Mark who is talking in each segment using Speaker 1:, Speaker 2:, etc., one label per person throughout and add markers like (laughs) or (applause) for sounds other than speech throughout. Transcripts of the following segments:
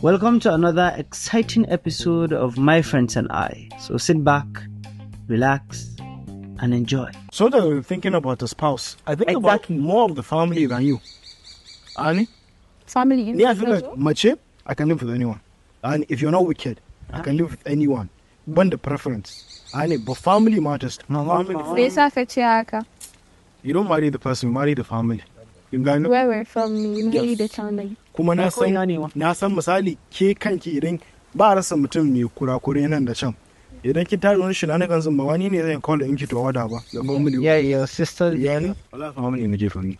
Speaker 1: Welcome to another exciting episode of My Friends and I. So sit back, relax, and enjoy.
Speaker 2: So that I'm thinking about the spouse, I think
Speaker 3: Exactly.
Speaker 2: about more of the family than you. Annie?
Speaker 3: Family.
Speaker 2: Yeah, I feel like my chip, I can live with anyone. And if you're not wicked, I can live with anyone. When the preference. Annie, but family matters. Family.
Speaker 3: Me yasa ka ce haka?
Speaker 2: You don't marry the person, you marry the family. You gano?
Speaker 3: Where we're from, you marry the family.
Speaker 2: kuma
Speaker 1: Ba
Speaker 2: na
Speaker 1: ko
Speaker 2: san
Speaker 1: ina ne ma.
Speaker 2: na san misali ke kanki idan ba rasa mutum mai kurakure nan da can idan kin tare wani shinani kan zumba wani ne zan call in ki to order ba da ban mili
Speaker 1: your sister.
Speaker 2: yeah Allah family ne jefa ni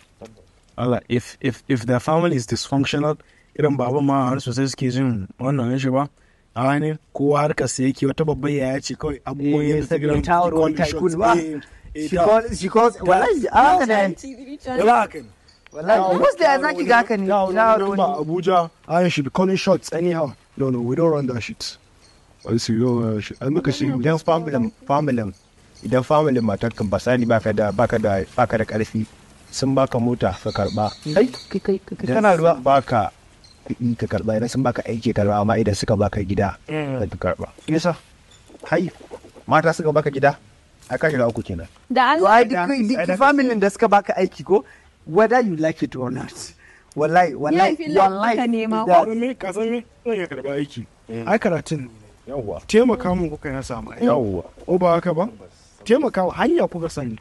Speaker 2: Allah if if if their family is dysfunctional irin baba ma har sosai suke jin wannan shi ba a wani kowa harkar sa yake wata babbar yaya ce kawai abubuwan
Speaker 1: Eh,
Speaker 2: yadda ta gidan
Speaker 1: ta wuri wani tycoon ba.
Speaker 2: eh,
Speaker 1: She calls. She calls. Wallahi,
Speaker 4: ah,
Speaker 1: haka ne.
Speaker 2: Relax.
Speaker 1: Wallahi, what's the zaki ga haka ne? Ina ruwan
Speaker 2: Remember Abuja, I should be calling shots anyhow. No, no, we don't run that shit.
Speaker 5: wasu
Speaker 2: uh,
Speaker 5: yau shi an muka shi idan familin familin idan familin matar kan basani baka da baka da baka da karfi sun baka mota ka karba kai kai kai kana ruwa baka kuɗi ka karba idan sun baka aiki ka karba amma idan suka baka gida ka ka karba yasa hai mata suka baka gida a kashi da uku kenan
Speaker 3: Da
Speaker 4: To
Speaker 3: Allah.
Speaker 4: ai duk duk familin da suka baka aiki ko whether you like it or not. Wallahi wallahi
Speaker 3: Laifi laifi ka nema ko?
Speaker 2: me ka san me? Zan iya karɓa aiki. Ai karatun
Speaker 5: Mm. yawwa
Speaker 2: taimaka min kuka na samu aiki.
Speaker 5: yawwa
Speaker 2: O ba haka ba? Taimaka wa hanya kuka sani.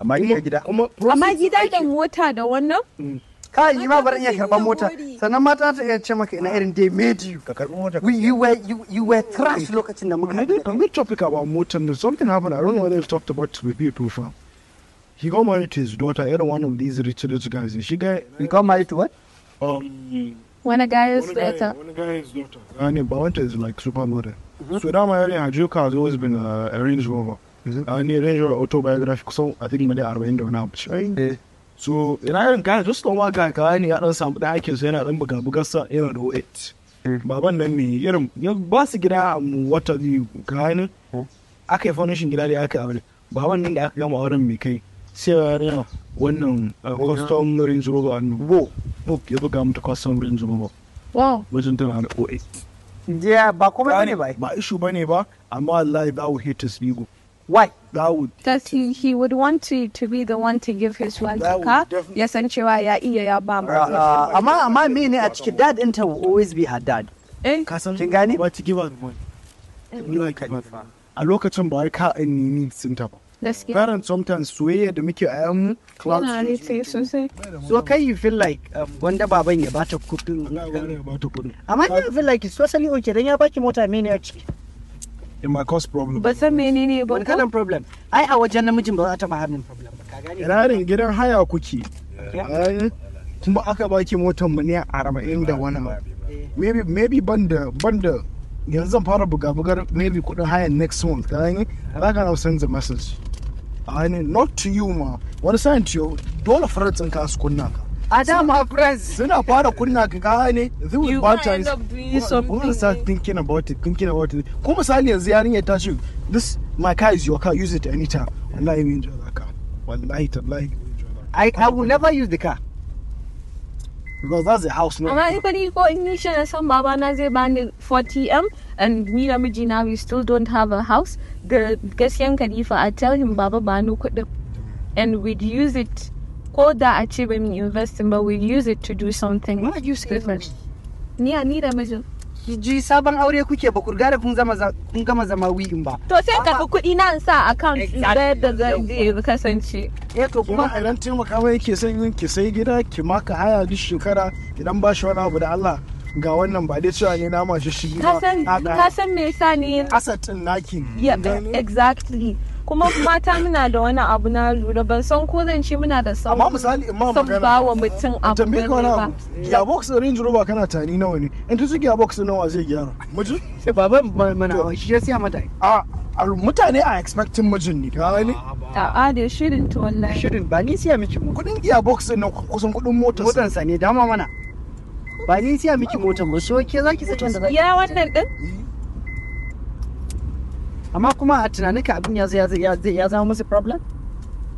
Speaker 5: amma ina gida
Speaker 2: Kuma
Speaker 3: Amma gida da mota da wannan?
Speaker 4: Kai ni ma baran iya karban mota. Sannan mata ta iya ce maka ina irin they made you.
Speaker 5: ka karbi mota
Speaker 4: We you were you, you were trash lokacin da muka
Speaker 2: I
Speaker 4: haɗu.
Speaker 2: did a good topic about motor. and Something happened. I don't know whether it's talked about with you too far. He got married to his daughter, You're one of these rich rich guys. She got
Speaker 4: We got married to what?
Speaker 2: um
Speaker 3: Wani gayar
Speaker 2: One
Speaker 3: su
Speaker 2: guy-
Speaker 3: ta.
Speaker 2: one guy is daughter. And Bawanta is like supermodel. So that my earlier Hajuka has always been uh, a Range Rover. And the Range Rover autobiographic, so I think maybe are in now. Eh. So in Iron guy, just normal guy, guy, ni yaɗan samu ɗan aikin sai yana ɗan buga buga sa yana da it. Baban nan ne irin ya ba su gida a mu wata biyu ka ni aka yi faunishin gida da aka aure. Baban nan da aka gama auren mai kai sai ya rena wannan uh, custom Range Rover annu. Wo, ya buga mata custom Range Rover.
Speaker 3: Wow.
Speaker 2: wajen tana da OA.
Speaker 4: Yeah, ba komai bane ba.
Speaker 2: Ba ishu ba ne ba, amma wallahi za would hate his ego.
Speaker 4: Why?
Speaker 2: That would
Speaker 3: That he, he would want to, to be the one to give his wife
Speaker 2: That
Speaker 3: a
Speaker 2: would
Speaker 3: car.
Speaker 2: definitely-
Speaker 3: Ya san cewa ya iya ya ba
Speaker 4: Uh,
Speaker 3: mu.
Speaker 4: uh, amma amma me ne a cikin dad ɗinta will always be her dad.
Speaker 3: Eh?
Speaker 2: kasan
Speaker 4: Kin gane?
Speaker 2: ba ta give her the money. You like it. A lokacin ba wai ka in need sun ta ba.
Speaker 3: Gaskiya.
Speaker 2: Parents sometimes soyayya da muke a yan cloud.
Speaker 3: Yana rufe sosai.
Speaker 4: So kai you feel like um, wanda baban ya bata kuɗin. Amma you feel like it's totally okay dan ya baki mota me ne a ciki.
Speaker 2: In my cause problem.
Speaker 3: Ba san menene ba.
Speaker 4: wani
Speaker 3: ko?
Speaker 4: kalan problem ai a wajen namijin ba za ta maharnin problem ba ka gane
Speaker 2: Rarin gidan haya kuke. Ai, Kuma aka baki motar miliyan arba'in da wani abu. Maybe maybe banda banda yanzu zan fara buga bugar maybe kudin haya next month. Ka gane? Za ka now send the message. I mean, not to you ma. Wani sa'in to you dole farar tsinka su kunna ka.
Speaker 4: a dama friends
Speaker 2: Suna fara kunna ka ka gane? They will
Speaker 3: You
Speaker 2: bad
Speaker 3: might end
Speaker 2: times.
Speaker 3: up doing
Speaker 2: We'll-
Speaker 3: something.
Speaker 2: We'll start thinking about it, thinking about it. Ko misali yanzu yarinya ta ce this my car is your car use it anytime. Wallahi mun enjoy that car. Wallahi tallahi. mun enjoy that.
Speaker 4: I, I will never use the car
Speaker 2: Because that's a house no.
Speaker 3: Amma in ka ni ko in ni shi na san baba na zai bani 40m and ni da mijina we still don't have a house. The gaskiyan Khalifa I tell him baba ba ni kuɗin and we'd use it ko da a ce ba mu invest in ba we'd use it to do something.
Speaker 4: Why you say
Speaker 3: different. Ni a ni da mijin.
Speaker 4: ki ji sabon aure kuke ba ku riga da kun zama za- kun gama zama wi'in ba
Speaker 3: To sai ka kuɗi na in sa account da
Speaker 4: Exactly.
Speaker 3: yadda zai kasance.
Speaker 4: eh to
Speaker 2: kuma
Speaker 4: kuma
Speaker 2: a idan taimaka mai yake son yin ki sai gida ki maka haya duk shekara idan ba shi wani abu da Allah ga wannan ba dai cewa ne na ma shi shi
Speaker 3: Ka san
Speaker 2: ba
Speaker 3: ka san me yasa ni
Speaker 2: asatin naki
Speaker 3: Yeah, exactly. Kuma mata muna da wani abu na lura ban san ko zan ce muna da son
Speaker 2: Amma misali in ma
Speaker 3: son
Speaker 2: magana,
Speaker 3: ba wa mutum abu
Speaker 2: tambaye ka wani
Speaker 3: ba.
Speaker 2: abu ya box range rover kana tani nawa ne in tuzu ya box nawa zai gyara mutum
Speaker 4: sai baban ma- mana shi ya siya mata
Speaker 2: a a- mutane a expecting mijin ne ka gani
Speaker 3: Ta'a da shirin ta wallahi.
Speaker 4: shirin ba ni siya miki mo-
Speaker 2: kudin iya box na kusan kudin motar sa.
Speaker 4: motan sa ne dama mana ba ni siya miki motan ba so ke zaki sakin da zaki
Speaker 3: Ya wannan din
Speaker 4: amma kuma a tunaninka abin ya zai ya zai ya zama musu problem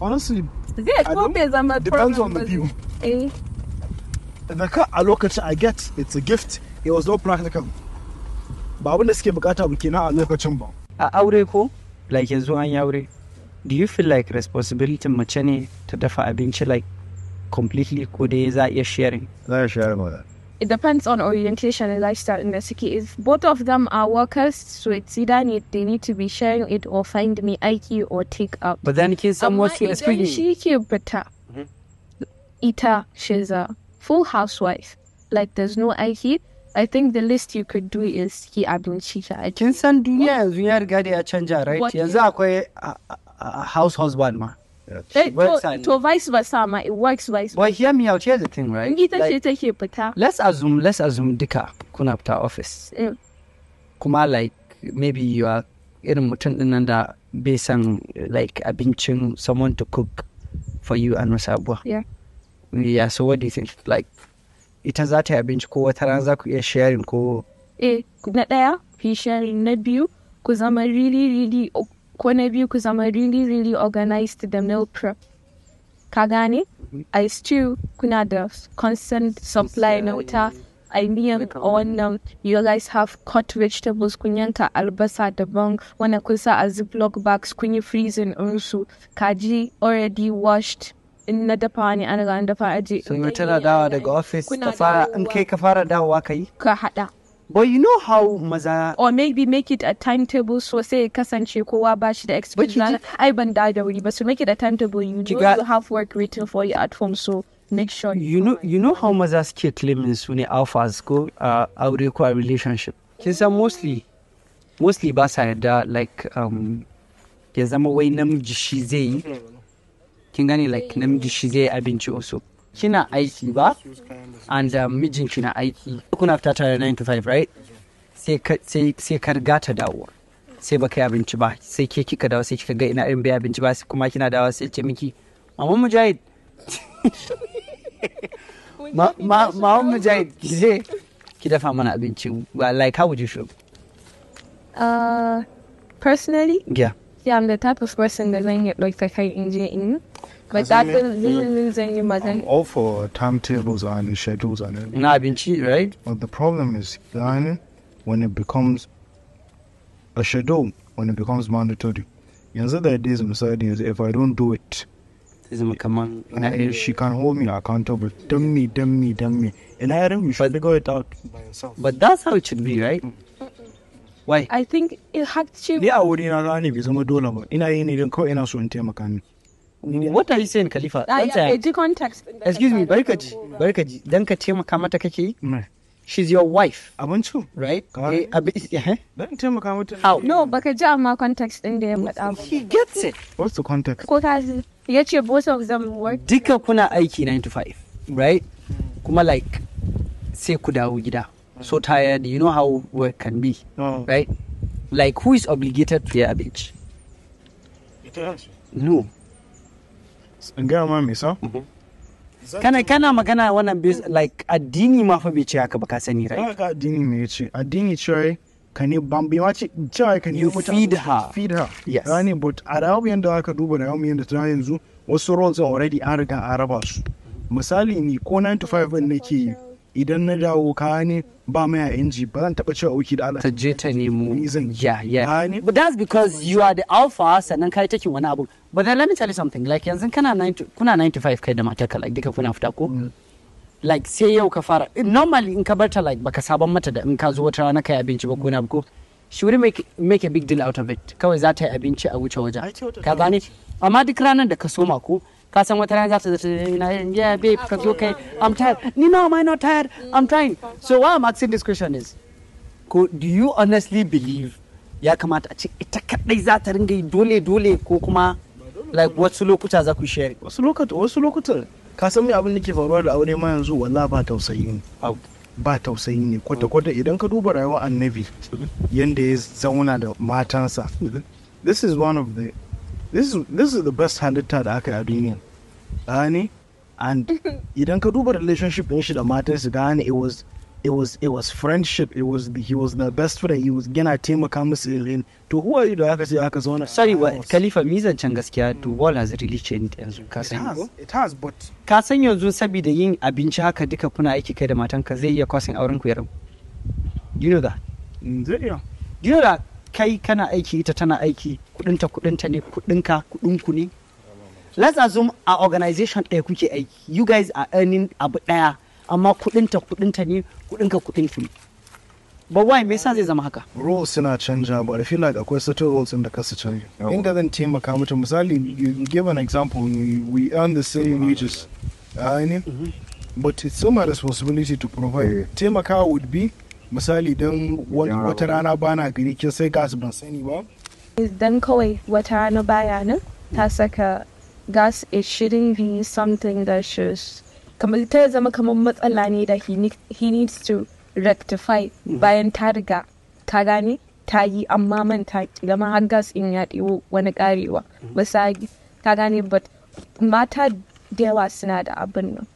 Speaker 2: honestly
Speaker 3: zai
Speaker 2: I
Speaker 3: ko
Speaker 2: don't-
Speaker 3: bai zama
Speaker 2: depends on
Speaker 3: problem
Speaker 2: the
Speaker 3: ba.
Speaker 2: view.
Speaker 3: Eh,
Speaker 2: the car a lokacin i get it's a gift it was not practical ba abin da suke bukata ba kenan a lokacin ba
Speaker 4: a Ah, aure ko like yanzu an yi aure do you feel like responsibility mace ne ta dafa abinci like completely ko dai za a iya sharing
Speaker 6: za a share ma
Speaker 3: it depends on orientation and lifestyle in the city. If both of them are workers, so it's either need, they need to be sharing it or find me IQ or take up.
Speaker 4: but then kin san
Speaker 3: Amma
Speaker 4: wasu
Speaker 3: idan
Speaker 4: especially
Speaker 3: She ke fita. Ita, she's a full housewife. Like there's no IQ. I think the least you could do is ki abinci ta aiki.
Speaker 4: kin san duniya yanzu ya riga da ya canja right
Speaker 3: What-
Speaker 4: yanzu akwai a- a- a house husband ma
Speaker 3: Eh,
Speaker 4: works
Speaker 3: To,
Speaker 4: and-
Speaker 3: to vice versa ma, it works vice versa.
Speaker 4: but hear me out here's the thing right
Speaker 3: Ita
Speaker 4: Like,
Speaker 3: ce take fita.
Speaker 4: let's assume let's assume duka kuna fita office
Speaker 3: Eh,
Speaker 4: kuma like maybe you are irin mutum din nan da bai san like abincin someone to cook for you and wasu abuwa
Speaker 3: Yeah.
Speaker 4: yeah so what do you think like ita za ta yi abinci ko wata rana za ku iya sharing ko
Speaker 3: eh, na ɗaya, ki sharing. Na biyu, ku zama really, really, ko na biyu ku zama really, really organized da meal prep. Ka gane? I still kuna da constant supply na wuta. I mean, wannan you guys have cut vegetables kun yanka albasa daban wannan kun sa a ziploc bags kun yi freezing ɗinsu kaji already washed in na dafa ne an riga an dafa aje
Speaker 4: sun yi tana dawa daga office ta
Speaker 3: Kuna
Speaker 4: fara in
Speaker 3: dawowa.
Speaker 4: kai ka fara dawowa ka yi
Speaker 3: ka haɗa
Speaker 4: but you know how maza
Speaker 3: or maybe make it a timetable so sai ya kasance kowa ba shi da
Speaker 4: But
Speaker 3: experience
Speaker 4: you
Speaker 3: ranar, ai ban da da wuri ba so make it a timetable you
Speaker 4: Ki
Speaker 3: know
Speaker 4: ga-
Speaker 3: you have work written for you at home so make sure
Speaker 4: you know you know how maza suke claiming su ne alphas ko a aure ko a relationship kin san mostly mostly ba sa yarda like um ya zama wai namiji shi zai yi kin gane like namiji shi zai yi abinci also kina aiki ba and um, mijin kina aiki kuna fita tare 9 to 5 right sai ka sai sai ka riga ta dawo sai baka yi abinci ba sai ke kika dawo sai kika ga ina irin bai abinci ba sai kuma kina dawo sai ce miki amma mujahid Ma- ma- Ma'am Mujahid, ki je ki dafa mana abinci. Well, like, how would you feel?
Speaker 3: uh, personally
Speaker 4: Yeah.
Speaker 3: yeah I'm the type of person that zan yi ɗauka kai in je in yi. but that will really zan yi mazan
Speaker 2: all for timetables and schedules and everything.
Speaker 4: Na abinci, right?
Speaker 2: But the problem is then when it becomes a schedule, when it becomes mandatory. Yanzu there are days misali yanzu if I don't do it,
Speaker 4: Zai zama kaman
Speaker 2: na- she can hold me accountable. Dumb me, dumb me, dumb me. And I don't you should figure it out by yourself.
Speaker 4: But that's how it should be, right? Why?
Speaker 3: I think it actually
Speaker 2: Ni a wuri na rana ne bai zama dole ba. Ina yi ne don kawai ina so in taimaka ne.
Speaker 4: What are you saying, Khalifa?
Speaker 3: Ah,
Speaker 4: Don't
Speaker 3: yeah,
Speaker 4: say-
Speaker 3: ka ji context ɗin da ka
Speaker 4: Excuse me,
Speaker 3: fara
Speaker 4: barkaji.
Speaker 3: ɗauko ba.
Speaker 4: Barkaji. Dan ka taimaka mata kake yi?
Speaker 2: Me.
Speaker 4: She's your wife,
Speaker 2: Abin ciwo.
Speaker 4: right?
Speaker 2: Ka-
Speaker 4: Eh, abi- eh,
Speaker 2: Don taimaka mata.
Speaker 4: How?
Speaker 3: no baka ji amma context ɗin da ya faɗa ba
Speaker 4: He gets it.
Speaker 2: What's the context?
Speaker 3: ko ka ji ya ce both of them work
Speaker 4: duka kuna aiki 9 to 5 right kuma like sai ku dawo gida so tired you know how work can be
Speaker 2: Oh.
Speaker 4: right like who is obligated to their bitch no
Speaker 2: In gaya ma me sa?
Speaker 4: kana kana magana wannan bas- like addini ma fa bai ce haka ba ka sani right
Speaker 2: Ka ga addini me ya ce? Addini cewa ka ne bambi ma ce cewa ka ne
Speaker 4: You
Speaker 2: mutum-
Speaker 4: feed her.
Speaker 2: Feed her.
Speaker 4: Yes.
Speaker 2: Rani, but a rawu yadda aka duba da yawan yadda ta yanzu wasu roles are already an riga an raba su. Misali ni ko 9 to 5 ɗin nake yi idan na dawo ka ne ba mai a inji ba zan taɓa cewa auki da Allah.
Speaker 4: ta je ta nemo
Speaker 2: Reason.
Speaker 4: yeah yeah
Speaker 2: Gane?
Speaker 4: but that's because you are the alpha sannan kai take wani abu but then let me tell you something like yanzu kana 9 to kuna 9 to 5 kai da matarka like duka kuna fita ko like sai yau ka fara normally in ka bar ta like baka saban mata da in ka zo wata rana kai abinci ba ko na ko she would make make a big deal out of it kawai za ta yi abinci a wuce wajen ka gane amma duk ranar da ka soma ko ka san wata rana za ta zata na yeah babe ka zo kai i'm tired ni no am i not tired i'm trying so why i'm asking this question is ko do you honestly believe ya kamata a ce ita kadai za ta ringa yi dole dole ko kuma like wasu lokuta za ku share
Speaker 2: wasu lokuta wasu lokutan ka san me abin da ke faruwa da aure ma yanzu wallahi ba tausayi ne
Speaker 4: Au.
Speaker 2: ba tausayi ne kwata kwata idan ka duba rayuwar annabi yanda ya zauna da matansa this is one of the this is this is the best halitta da aka yi a duniya gane
Speaker 4: (laughs)
Speaker 2: and idan ka duba relationship din shi da matarsa gane it was it was it was friendship it was the, he was the best friend he was yana taimaka musu irin to who are you da aka ce aka zauna
Speaker 4: sorry wa khalifa mizancen gaskiya to wall has really changed yanzu ka
Speaker 2: it
Speaker 4: san
Speaker 2: has, it has but
Speaker 4: ka san yanzu saboda yin abinci haka duka kuna aiki kai da matanka zai iya kwasin auren ku ya rabu you know that
Speaker 2: Zai iya.
Speaker 4: you know that kai kana aiki ita tana aiki kudinta kudinta ne kudinka kudinku ne let's assume a organization ɗaya kuke aiki you guys are earning abu ɗaya amma kudinta kudinta ne kudinka kudinku ne but why me yasa zai zama haka
Speaker 2: Rules suna canja but I feel like akwai certain rules in da kasu canja. Inda zan taimaka mutum misali you give an example we- we earn the same wages. I But it's still my responsibility to provide. Taimaka would be misali don wata rana bana gari kin sai gas ban sani ba.
Speaker 3: Then kawai wata rana baya nan ta saka gas it shouldn't be something that shows kamar ta zama kamar matsala ne da he, need- he needs to rectify bayan ta riga ta gane ta yi amma manta gama har gas in ya ɗiwo wani ƙarewa misali ta gane but mata da yawa suna da abin nan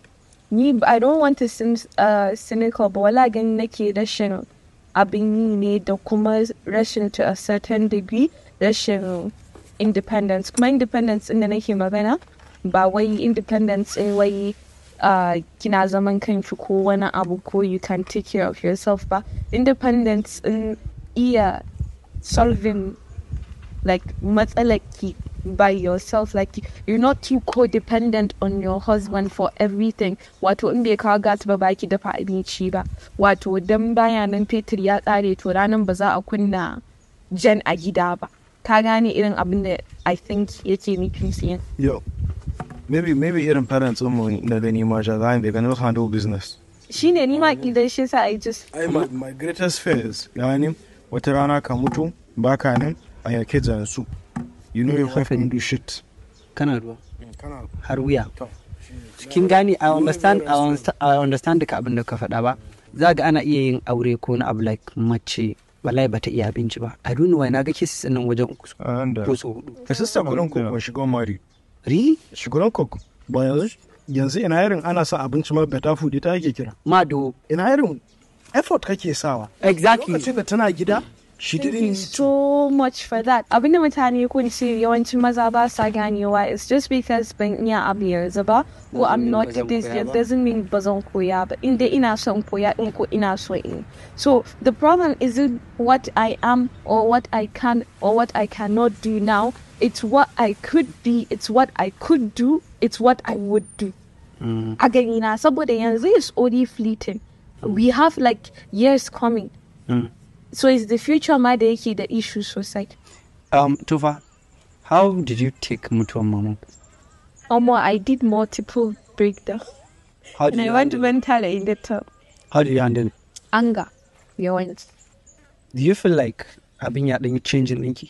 Speaker 3: ni I don't want to seem uh, cynical but wala ganin nake rashin abin yi ne da kuma rashin to a certain degree rashin independence kuma independence din da nake magana ba wai independence in wai uh, kina zaman kanki ko wani abu ko you can take care of yourself ba independence in iya solving like matsalaki by yourself like you're not too codependent on your husband for everything wato in bai kawo gas ba baki dafa abinci ba wato dan baya nan fetur ya tsare to ranan ba za a kunna jan a gida ba ka gane irin abin da i think yake nufin siyan
Speaker 2: Yo. Maybe maybe irin parents ɗinmu na gani ma jaza'in bai ganin handle business.
Speaker 3: shine ni ma idan shi sa i just
Speaker 2: I, my, my greatest fear is yani wata rana ka mutu ba ka nan a yake jansu you know you have to do shit
Speaker 4: kana ruwa har wuya kin gane i understand I understand- i understand duka abin da ka faɗa ba za ga ana iya yin aure ko na abu like mace wallahi bata iya abinci ba i don't know why na ga cases nan wajen uku so-
Speaker 2: and uh,
Speaker 4: ko so hudu
Speaker 2: ka sista gurin cook ko shigo mari
Speaker 4: really
Speaker 2: shigo cook ba yanzu yanzu ina irin ana sa abinci ma beta food ita ake kira
Speaker 4: mado
Speaker 2: ina irin effort kake sawa
Speaker 4: exactly
Speaker 2: lokacin da tana gida she
Speaker 3: Thank you
Speaker 2: didn't
Speaker 3: so much for that. Abin da mutane kun ce yawancin maza ba sa ganewa is just because ban iya abu yanzu ba ko I'm
Speaker 4: mean
Speaker 3: not
Speaker 4: ba zan
Speaker 3: this
Speaker 4: koya
Speaker 3: yet
Speaker 4: ba.
Speaker 3: doesn't mean ba zan koya ba inda ina son koya in ko ina so in. So the problem isn't what I am or what I can or what I cannot do now. It's what I could be, it's what I could do, it's what I would do. A gani na saboda yanzu is only fleeting. We have like years coming. So is the future ma da yake da issue sosai.
Speaker 4: um tufa how did you take mutuwan mama
Speaker 3: Omo, I did multiple breakdowns.
Speaker 4: how did
Speaker 3: And I
Speaker 4: you
Speaker 3: went
Speaker 4: handle,
Speaker 3: mentally in the top.
Speaker 4: how did you handle it?
Speaker 3: Anger. Yawanci.
Speaker 4: do you feel like abin ya ɗan changing ɗinki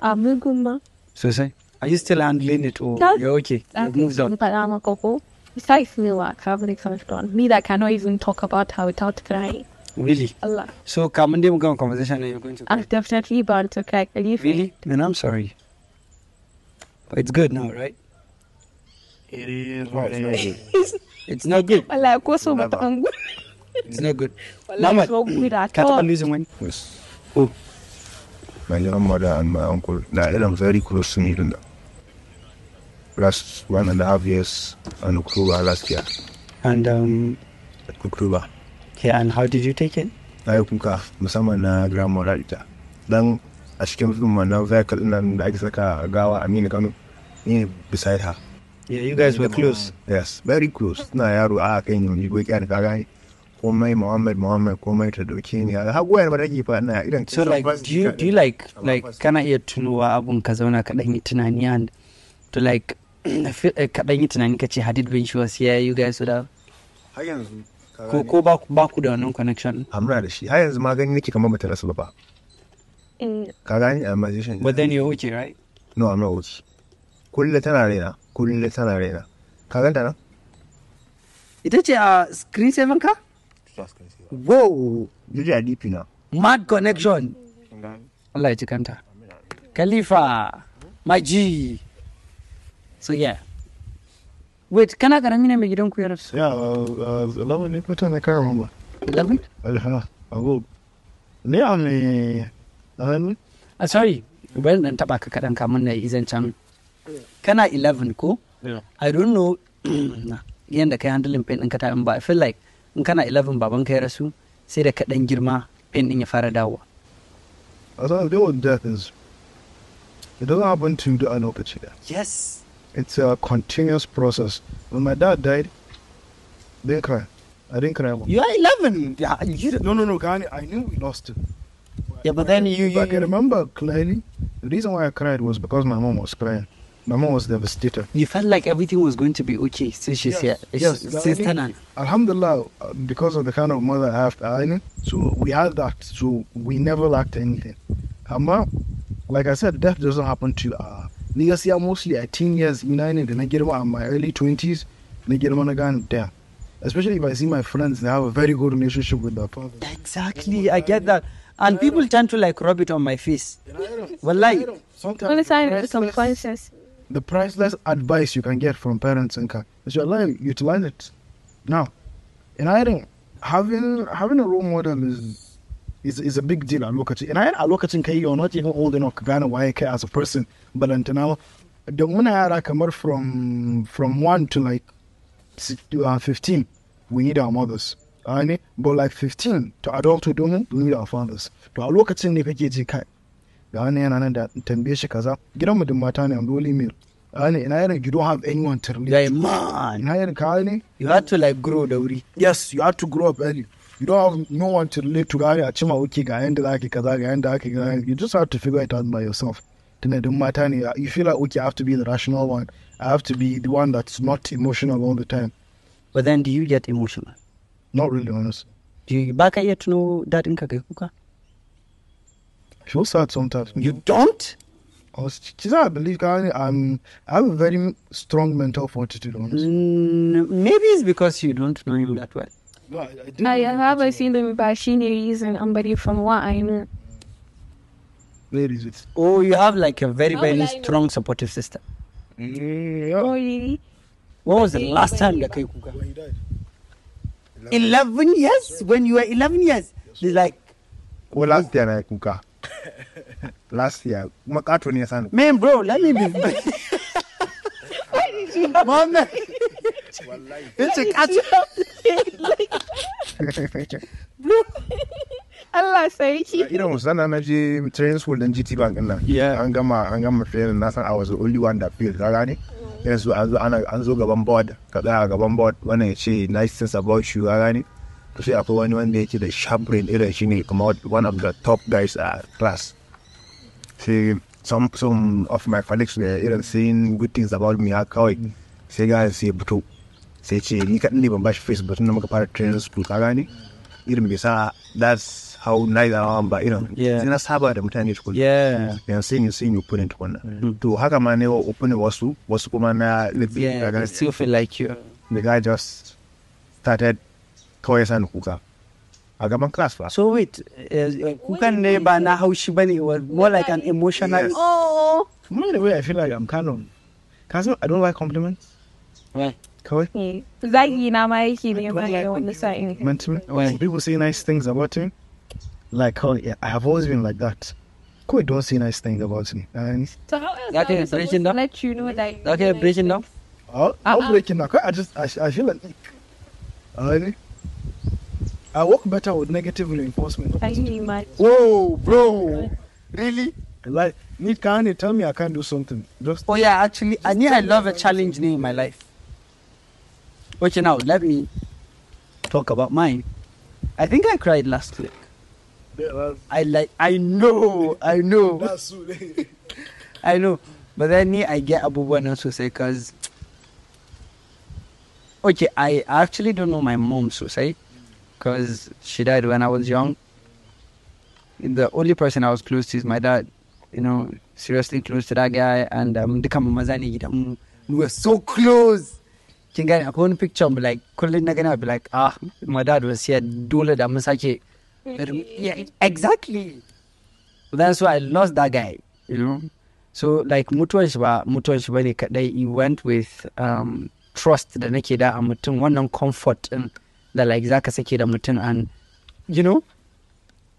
Speaker 3: A Ah, mugun ma.
Speaker 4: sosai are you still handling it or
Speaker 3: No.
Speaker 4: you're Ah, okay you've moved on
Speaker 3: In Panama Coco. Besides me, like, I've really crashed on. Me that cannot even talk about her without crying.
Speaker 4: really
Speaker 3: Allah.
Speaker 4: so kamun dai mu gama conversation and you're going to
Speaker 3: I'm definitely bound to cry. Are you
Speaker 4: Really? Then I'm sorry. But it's good now, right? It's not good.
Speaker 3: Allah, ko so mata an gudu.
Speaker 4: It's not good.
Speaker 3: Allah,
Speaker 4: Muhammad,
Speaker 3: so good at
Speaker 4: Ka taɓa
Speaker 3: all.
Speaker 4: losing wani?
Speaker 6: Yes.
Speaker 4: Who?
Speaker 6: My grandmother and my uncle, they're I'm very close to me. in the Last one and a half years and October last year.
Speaker 4: And um,
Speaker 6: October.
Speaker 4: yeah. And how did you take it?
Speaker 6: Na yi kuka musamman na grandmother ita. Dan a cikin film na vehicle ɗin nan da ake saka gawa Aminu Kano, ni ne beside her.
Speaker 4: Yeah, you guys were close.
Speaker 6: Yes, very close. Ina yaro a kan yin jigo kyan ka gani. Komai Muhammad Muhammad komai ta dauke ni. Har goyar ba take fa ina irin
Speaker 4: So like, do you do you like like kana iya tunuwa abun ka zauna ka ɗan yi tunani and to like (clears throat) I feel- eh, ka ɗan yi tunani ka ce had it been she was here you guys would have
Speaker 6: har yanzu ka
Speaker 4: ko
Speaker 6: gane.
Speaker 4: ko ba ku ba ku da wannan connection. ɗin?
Speaker 6: Amma da shi har yanzu magani nake kamar bata rasa ba fa.
Speaker 3: Mm,
Speaker 6: Ka gani a magician.
Speaker 4: But then you're okay, right?
Speaker 6: no I'm not okay. Kullum tana raina, kullum tana raina. Ka ganta nan?
Speaker 4: Ita ce a screen saver ka? Wow.
Speaker 6: Jiji a DP na.
Speaker 4: Mad Connection. Allah ya ji kanta. Khalifa, my G. So yeah. Wait, kana karami ne mai gidan ku ya rasu?
Speaker 2: yeah uh, uh, 11 ne mutane kan ramba
Speaker 4: 11?
Speaker 2: alha abu ne a ne ɗan
Speaker 4: Ah, sorry, bari dan taba ka kaɗan kamun na yi zancen. Kana 11 ko?
Speaker 2: Yeah.
Speaker 4: I don't know (clears throat) yadda kai handling pain ɗinka ta ba. I feel like in kana 11 baban ka ya rasu sai da kaɗan girma pain din ya fara dawowa
Speaker 2: As I deal with death is, it doesn't happen to the unopportunity.
Speaker 4: yes
Speaker 2: It's a continuous process. When my dad died, I didn't cry. I didn't cry. once.
Speaker 4: you are 11 yeah, you,
Speaker 2: No, no, no, Ghani, I knew we lost him.
Speaker 4: yeah but then you,
Speaker 2: But
Speaker 4: you,
Speaker 2: I can remember clearly, the reason why I cried was because my mom was crying. My mom was devastated.
Speaker 4: you felt like everything was going to be okay so she's here
Speaker 2: yes,
Speaker 4: She's-
Speaker 2: but I
Speaker 4: she's
Speaker 2: think-
Speaker 4: turning.
Speaker 2: Alhamdulillah, uh, because of the kind of mother I have, I know, so we had that, so we never lacked anything. Amma, like I said, death doesn't happen to uh legacy are mostly at teen years, united, and I get one in my early twenties, and I get one again there. Especially if I see my friends, they have a very good relationship with their father.
Speaker 4: exactly i get that and people tend to like rub it on my face wallahi
Speaker 2: Sometimes
Speaker 3: Only time
Speaker 2: the
Speaker 3: it's
Speaker 2: priceless,
Speaker 3: subconscious.
Speaker 2: the priceless advice you can get from parents and car. So Allah utilize it now. In Ireland, having having a role model is is, is a big deal. I look at it. In Ireland, I look at it. You're not even old enough to kind of why I care as a person. But until now, the one I come out from from one to like six to, uh, fifteen, we need our mothers. Right? But like fifteen to adulthood, we need our fathers. To a lokacin ne kake ji kai ga wani yana nan da tambaye shi kaza gidan mutum mata ne an dole mil ne ina irin you don't have anyone to relate to.
Speaker 4: like man
Speaker 2: ina irin ka ne
Speaker 4: you had to like grow da wuri
Speaker 2: yes you have to grow up early you don't have no one to relate to gane a cima oke ga yanda za ka kaza ga yanda aka ga you just have to figure it out by yourself tunda duk mata ne you feel like okay I have to be the rational one I have to be the one that's not emotional all the time
Speaker 4: but then do you get emotional
Speaker 2: not really honest
Speaker 4: do you baka iya tuno dadin ka kai kuka
Speaker 2: I feel sad sometimes
Speaker 4: you don't
Speaker 2: I was, she's I believe Kanye, I'm I have a very strong mental fortitude honestly
Speaker 4: Mm, maybe it's because you don't know him that well
Speaker 2: no, I,
Speaker 3: I haven't seen them, but she needs an somebody from what I know.
Speaker 2: ladies it's
Speaker 4: Oh, you have like a very,
Speaker 3: How
Speaker 4: very
Speaker 3: will I know?
Speaker 4: strong supportive system.
Speaker 3: Oh, really?
Speaker 4: When was the last time that you kuka? 11 years? When you were 11 years? It's like,
Speaker 6: Well, last year na yi kuka. Last year, kuma kato ne ya sani.
Speaker 4: man, bro, let me be. Why did you have Mama. It's a catch.
Speaker 3: (laughs) Allah say
Speaker 6: Like, irin musana na je training school din GT Bank din nan.
Speaker 4: Yeah.
Speaker 6: An gama an gama training na san I was the only one that failed, ka gane? Irin su an zo ana an zo gaban board, ka tsaya gaban board wannan ya ce nice things about you, ka gane? To sai akwai wani wanda yake da sharp brain irin shi ne kuma one of the top guys a class. Sai some some of my colleagues were irin saying good things about me
Speaker 4: Mm.
Speaker 6: haka kawai. Sai ga sai fito. Sai ce ni kaɗan ne ban bashi face ba tun da muka fara training school, ka gane? irin bai sa that's how nice I am ba irin
Speaker 4: Yeah.
Speaker 6: sai na saba da mutane tukuna
Speaker 4: (laughs) Yeah. Mm.
Speaker 6: yan sai ni sai ni open tukuna to haka ma ne wa open wasu wasu kuma na libi
Speaker 4: Yeah, I still feel like you.
Speaker 6: the guy just started kawai san kuka a gaban class ba
Speaker 4: So wait, uh, kukan ne ba na haushi bane, it was more like an emotional.
Speaker 6: Yes.
Speaker 3: Oh.
Speaker 2: You know, in a way, I feel like I'm kind of. Cause I don't like compliments.
Speaker 4: Why?
Speaker 2: Kawai.
Speaker 3: Zagi na ma yake ne ba
Speaker 2: like
Speaker 3: da wani sa'in.
Speaker 2: Meant to me.
Speaker 4: Why?
Speaker 2: When people say nice things about me, like how yeah, I have always been like that. Kawai don't say nice things about me. And
Speaker 3: So how else
Speaker 4: Za ka
Speaker 3: are we
Speaker 4: iya
Speaker 3: supposed
Speaker 4: breaking
Speaker 3: to
Speaker 4: down?
Speaker 3: let you know that you
Speaker 4: Okay,
Speaker 3: like
Speaker 4: breaking down.
Speaker 2: I'll, I'll break it now. Kawai, I just I, I feel like. Alrighty. I work better with negative reinforcement.
Speaker 3: Can you imagine?
Speaker 2: Whoa, bro! Really? Like, Nick, can you tell me I can't do something? Just
Speaker 4: Oh yeah, actually, I knew I love a challenge in my life. Okay, now let me talk about mine. I think I cried last week. I like, I know, I know, I know. But then me, I get abubuwa na sosai cause. Okay, I actually don't know my mom sosai, cause she died when I was young. The only person I was close to is my dad you know, seriously close to that guy and um duka mu maza ne gidan mu. We were so close. Kin gane akwai wani picture mu like kullum na gani I'll be like ah my dad was here dole da mun sake yeah exactly. That's why I lost that guy, you know. So like mutuwar shi ba mutuwar shi bane kadai he went with um trust da nake da a mutum wannan comfort din da like zaka sake da mutum and you know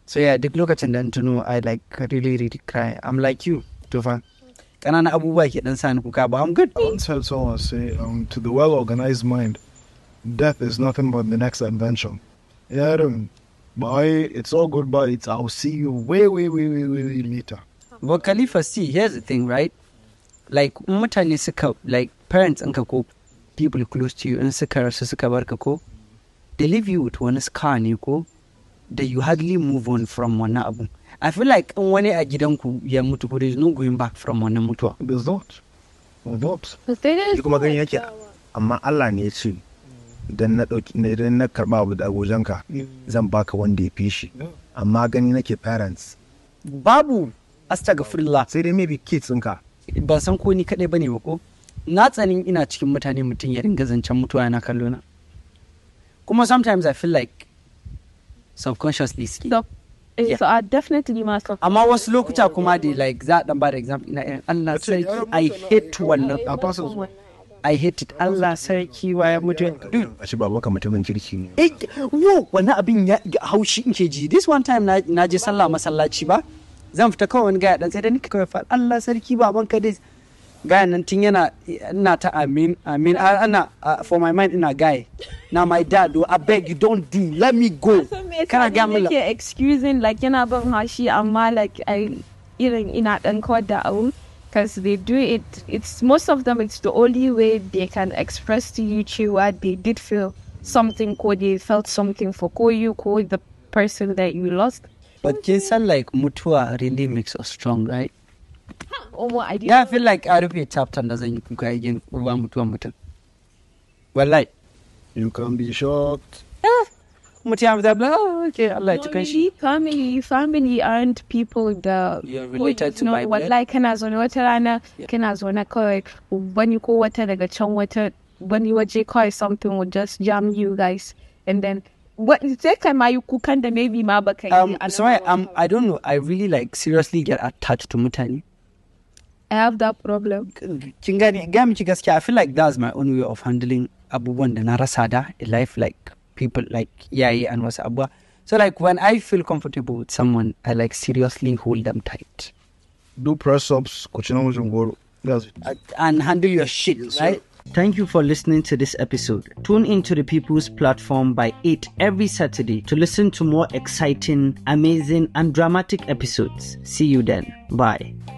Speaker 4: so yeah, duk lokacin da na tuno I like really really cry. I'm like you, Tufan. Ƙananan abubuwa ke dan sa ni kuka but I'm good.
Speaker 2: I once heard someone say, um, to the well organized mind, death is nothing but the next adventure. Yeah, I don't. Boy, it's all good, but it's I'll see you way, way, way, way, way, way later.
Speaker 4: But Khalifa, see, here's the thing, right? Like, mutane suka, like, parents in ko people close to you in suka rasu suka bar ka ko, they leave you with wani scar ne ko, that you hardly move on from wani abu. I feel like in wani a gidanku ya mutu ko, there's no going back from wani mutuwa.
Speaker 2: There's not. There's not.
Speaker 3: But there is
Speaker 6: Shi kuma gani yake amma Allah ne ya ce idan na dauki idan na karba abu da agojanka zan baka wanda ya fi shi amma gani nake parents
Speaker 4: Babu, astagfirullah.
Speaker 6: sai dai maybe kids ɗinka
Speaker 4: ban san ko ni kaɗai bane ba ko na tsanin ina cikin mutane mutum ya dinga zancen mutuwa yana kallo na kuma sometimes i feel like subconsciously suke
Speaker 3: Stop. Eh,
Speaker 4: Yeah.
Speaker 3: So I definitely must have.
Speaker 4: amma wasu lokuta kuma dai like za a dan ba da example ina irin Allah sarki i hate wannan
Speaker 2: Apostles.
Speaker 4: i hate it Allah sarki wa ya mutu dude
Speaker 6: a ce ba maka mutumin kirki ne
Speaker 4: it wo wani abin ya ya haushi in ke ji this one time na- na je sallah masallaci ba zan fita kawai wani gaya dan sai da nika kawai fa Allah sarki baban ka dai gaya nan tun yana ina ta amin amin a- ana a- for my mind ina guy na my dad oh, I beg you don't do let me go kana ga mun la-
Speaker 3: like excusing like yana bin haushi amma like I irin ina dan kawar da abu because they do it it's most of them it's the only way they can express to you cewa they did feel something ko they felt something for ko you ko the person that you lost
Speaker 4: but kin san like mutuwa really makes us strong right
Speaker 3: Omo I did
Speaker 4: yeah I feel like a rufe chapter da zan yi kuka again ruwa mutuwa mutum wallahi
Speaker 2: You can be shocked.
Speaker 4: mutum ya mutu bla okay Allah ya cikin shi
Speaker 3: Normally, family family aren't people that
Speaker 4: You're related to
Speaker 3: no,
Speaker 4: by blood.
Speaker 3: wallahi kana zaune wata rana kana zaune kawai wani ko wata daga can wata wani waje kawai something will just jam you guys and then what sai kai ma yi kukan da maybe ma baka yi
Speaker 4: um
Speaker 3: a nan
Speaker 4: sorry
Speaker 3: ba.
Speaker 4: um i don't know i really like seriously get attached to mutane
Speaker 3: I have that problem
Speaker 4: kin gane ga miki gaskiya i feel like that's my own way of handling abubuwan da na rasa da in life like people like iyaye and wasu abuwa so like when i feel comfortable with someone i like seriously hold them tight
Speaker 2: Do press ups. um Kuchina mujungoro. That's it.
Speaker 4: and handle your shit right
Speaker 1: Thank you for listening to this episode. Tune into the People's Platform by 8 every Saturday to listen to more exciting, amazing, and dramatic episodes. See you then. Bye.